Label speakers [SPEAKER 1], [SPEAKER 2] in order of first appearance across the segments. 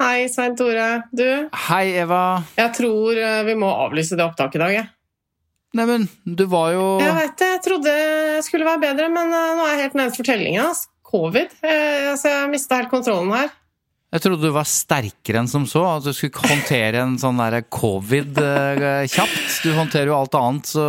[SPEAKER 1] Hei, Svein Tore. Du,
[SPEAKER 2] Hei, Eva.
[SPEAKER 1] jeg tror eh, vi må avlyse det opptaket i dag. Jeg,
[SPEAKER 2] Neimen, du var jo
[SPEAKER 1] jeg vet det, jeg trodde jeg skulle være bedre, men eh, nå er jeg helt nede for tellingen. ass. Covid. Eh, altså, jeg mista helt kontrollen her.
[SPEAKER 2] Jeg trodde du var sterkere enn som så. At du skulle håndtere en sånn der covid eh, kjapt. Du håndterer jo alt annet så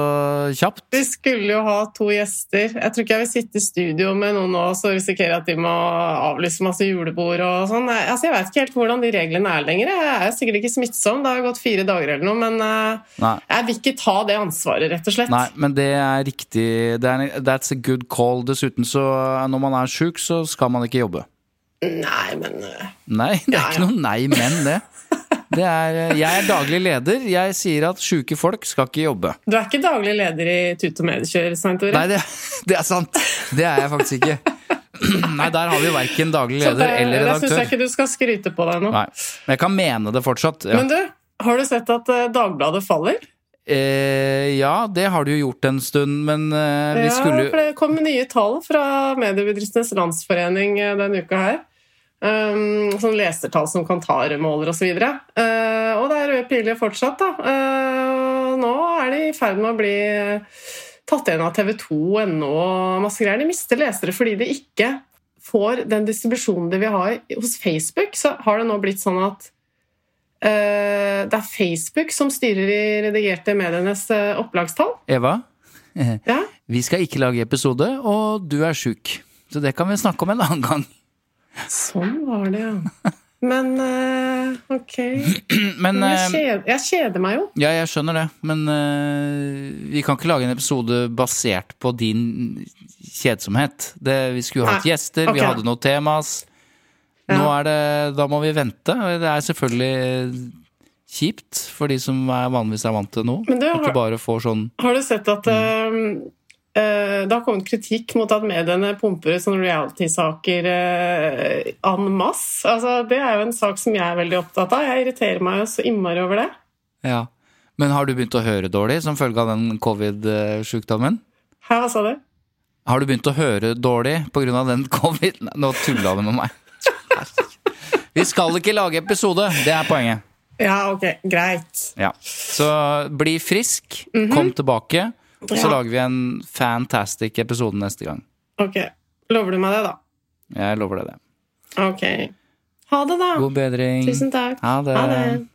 [SPEAKER 2] kjapt.
[SPEAKER 1] Vi skulle jo ha to gjester. Jeg tror ikke jeg vil sitte i studio med noen nå og risikere at de må avlyse masse julebord og sånn. Jeg- Altså, jeg vet ikke helt hvordan de reglene er lenger. Jeg er sikkert ikke smittsom, det har jo gått fire dager eller noe, men eh,
[SPEAKER 2] Nei.
[SPEAKER 1] jeg vil ikke ta det ansvaret, rett og slett.
[SPEAKER 2] Nei, men det er riktig. Det er, that's a good call. Dessuten så eh, når man er sjuk, så skal man ikke jobbe.
[SPEAKER 1] Nei, men eh,
[SPEAKER 2] Nei, det er
[SPEAKER 1] Ja,
[SPEAKER 2] ikke
[SPEAKER 1] ja.
[SPEAKER 2] noe nei, men det. det er, eh, jeg er daglig leder. Jeg sier at sjuke folk skal ikke jobbe.
[SPEAKER 1] Du er ikke daglig leder i Tut og Medikjør, Svein Tore?
[SPEAKER 2] Nei, det, det er sant. Det er jeg faktisk ikke. Nei, der har vi verken daglig
[SPEAKER 1] Så
[SPEAKER 2] leder
[SPEAKER 1] Det
[SPEAKER 2] eller
[SPEAKER 1] syns jeg
[SPEAKER 2] redaktør.
[SPEAKER 1] ikke du skal skryte på deg nå.
[SPEAKER 2] Nei, Men jeg kan mene det fortsatt. Ja,
[SPEAKER 1] Men du, har du sett at eh, Dagbladet faller?
[SPEAKER 2] eh, ja det har du jo gjort en stund, men eh, vi skulle
[SPEAKER 1] Ja,
[SPEAKER 2] jo
[SPEAKER 1] for det kom nye tall fra Mediebedriftenes Landsforening eh, denne uka her. Um, sånn lesertall som Kantar-måler osv. Uh, og det er røde piler fortsatt, da. Eh, nå er de i ferd med å bli eh, tatt igjen av TV2 NO og masse greier. De mister lesere fordi de ikke får den distribusjonen de vil ha i- hos Facebook. Så har det nå blitt sånn at eh, det er Facebook som styrer de redigerte medienes eh, opplagstall.
[SPEAKER 2] Eva,
[SPEAKER 1] Ja.
[SPEAKER 2] vi skal ikke lage episode, og du er sjuk. Så det kan vi snakke om en annen gang.
[SPEAKER 1] Sånn var det, ja. Men eh, ok
[SPEAKER 2] Men
[SPEAKER 1] Men jeg,
[SPEAKER 2] eh,
[SPEAKER 1] kjeder, jeg kjeder meg jo.
[SPEAKER 2] Ja, jeg skjønner det, men eh, vi kan ikke lage en episode basert på din kjedsomhet. Det, vi skulle hatt
[SPEAKER 1] Nei,
[SPEAKER 2] gjester,
[SPEAKER 1] Ah, ok
[SPEAKER 2] vi
[SPEAKER 1] da.
[SPEAKER 2] hadde noen temas.
[SPEAKER 1] Ja.
[SPEAKER 2] Nå er det Da må vi vente. Det er selvfølgelig kjipt for de som er vanligvis er vant til noe.
[SPEAKER 1] Men du,
[SPEAKER 2] Ikke
[SPEAKER 1] har,
[SPEAKER 2] bare får sånn
[SPEAKER 1] har du sett at eh, eh, det har kommet kritikk mot at mediene pumper ut sånne reality-saker eh, en masse? Altså, det er jo en sak som jeg er veldig opptatt av. Jeg irriterer meg jo så innmari over det.
[SPEAKER 2] Ja. Men har du begynt å høre dårlig som følge av den covid-sjukdommen?
[SPEAKER 1] Hæ, hva sa du?
[SPEAKER 2] Har du begynt å høre dårlig pga. den covid? Nei, nå tulla du med meg. Herregud. Vi skal ikke lage episode, det er poenget.
[SPEAKER 1] Ja, ok, greit.
[SPEAKER 2] Ja. Så bli frisk, kom tilbake, og så
[SPEAKER 1] Mhm. Ja.
[SPEAKER 2] lager vi en fantastic episode neste gang.
[SPEAKER 1] Ok, Lover du meg det, da?
[SPEAKER 2] Jeg lover deg det.
[SPEAKER 1] Ok. Ha det, da.
[SPEAKER 2] God bedring.
[SPEAKER 1] Tusen takk.
[SPEAKER 2] Ha det.
[SPEAKER 1] Ha det.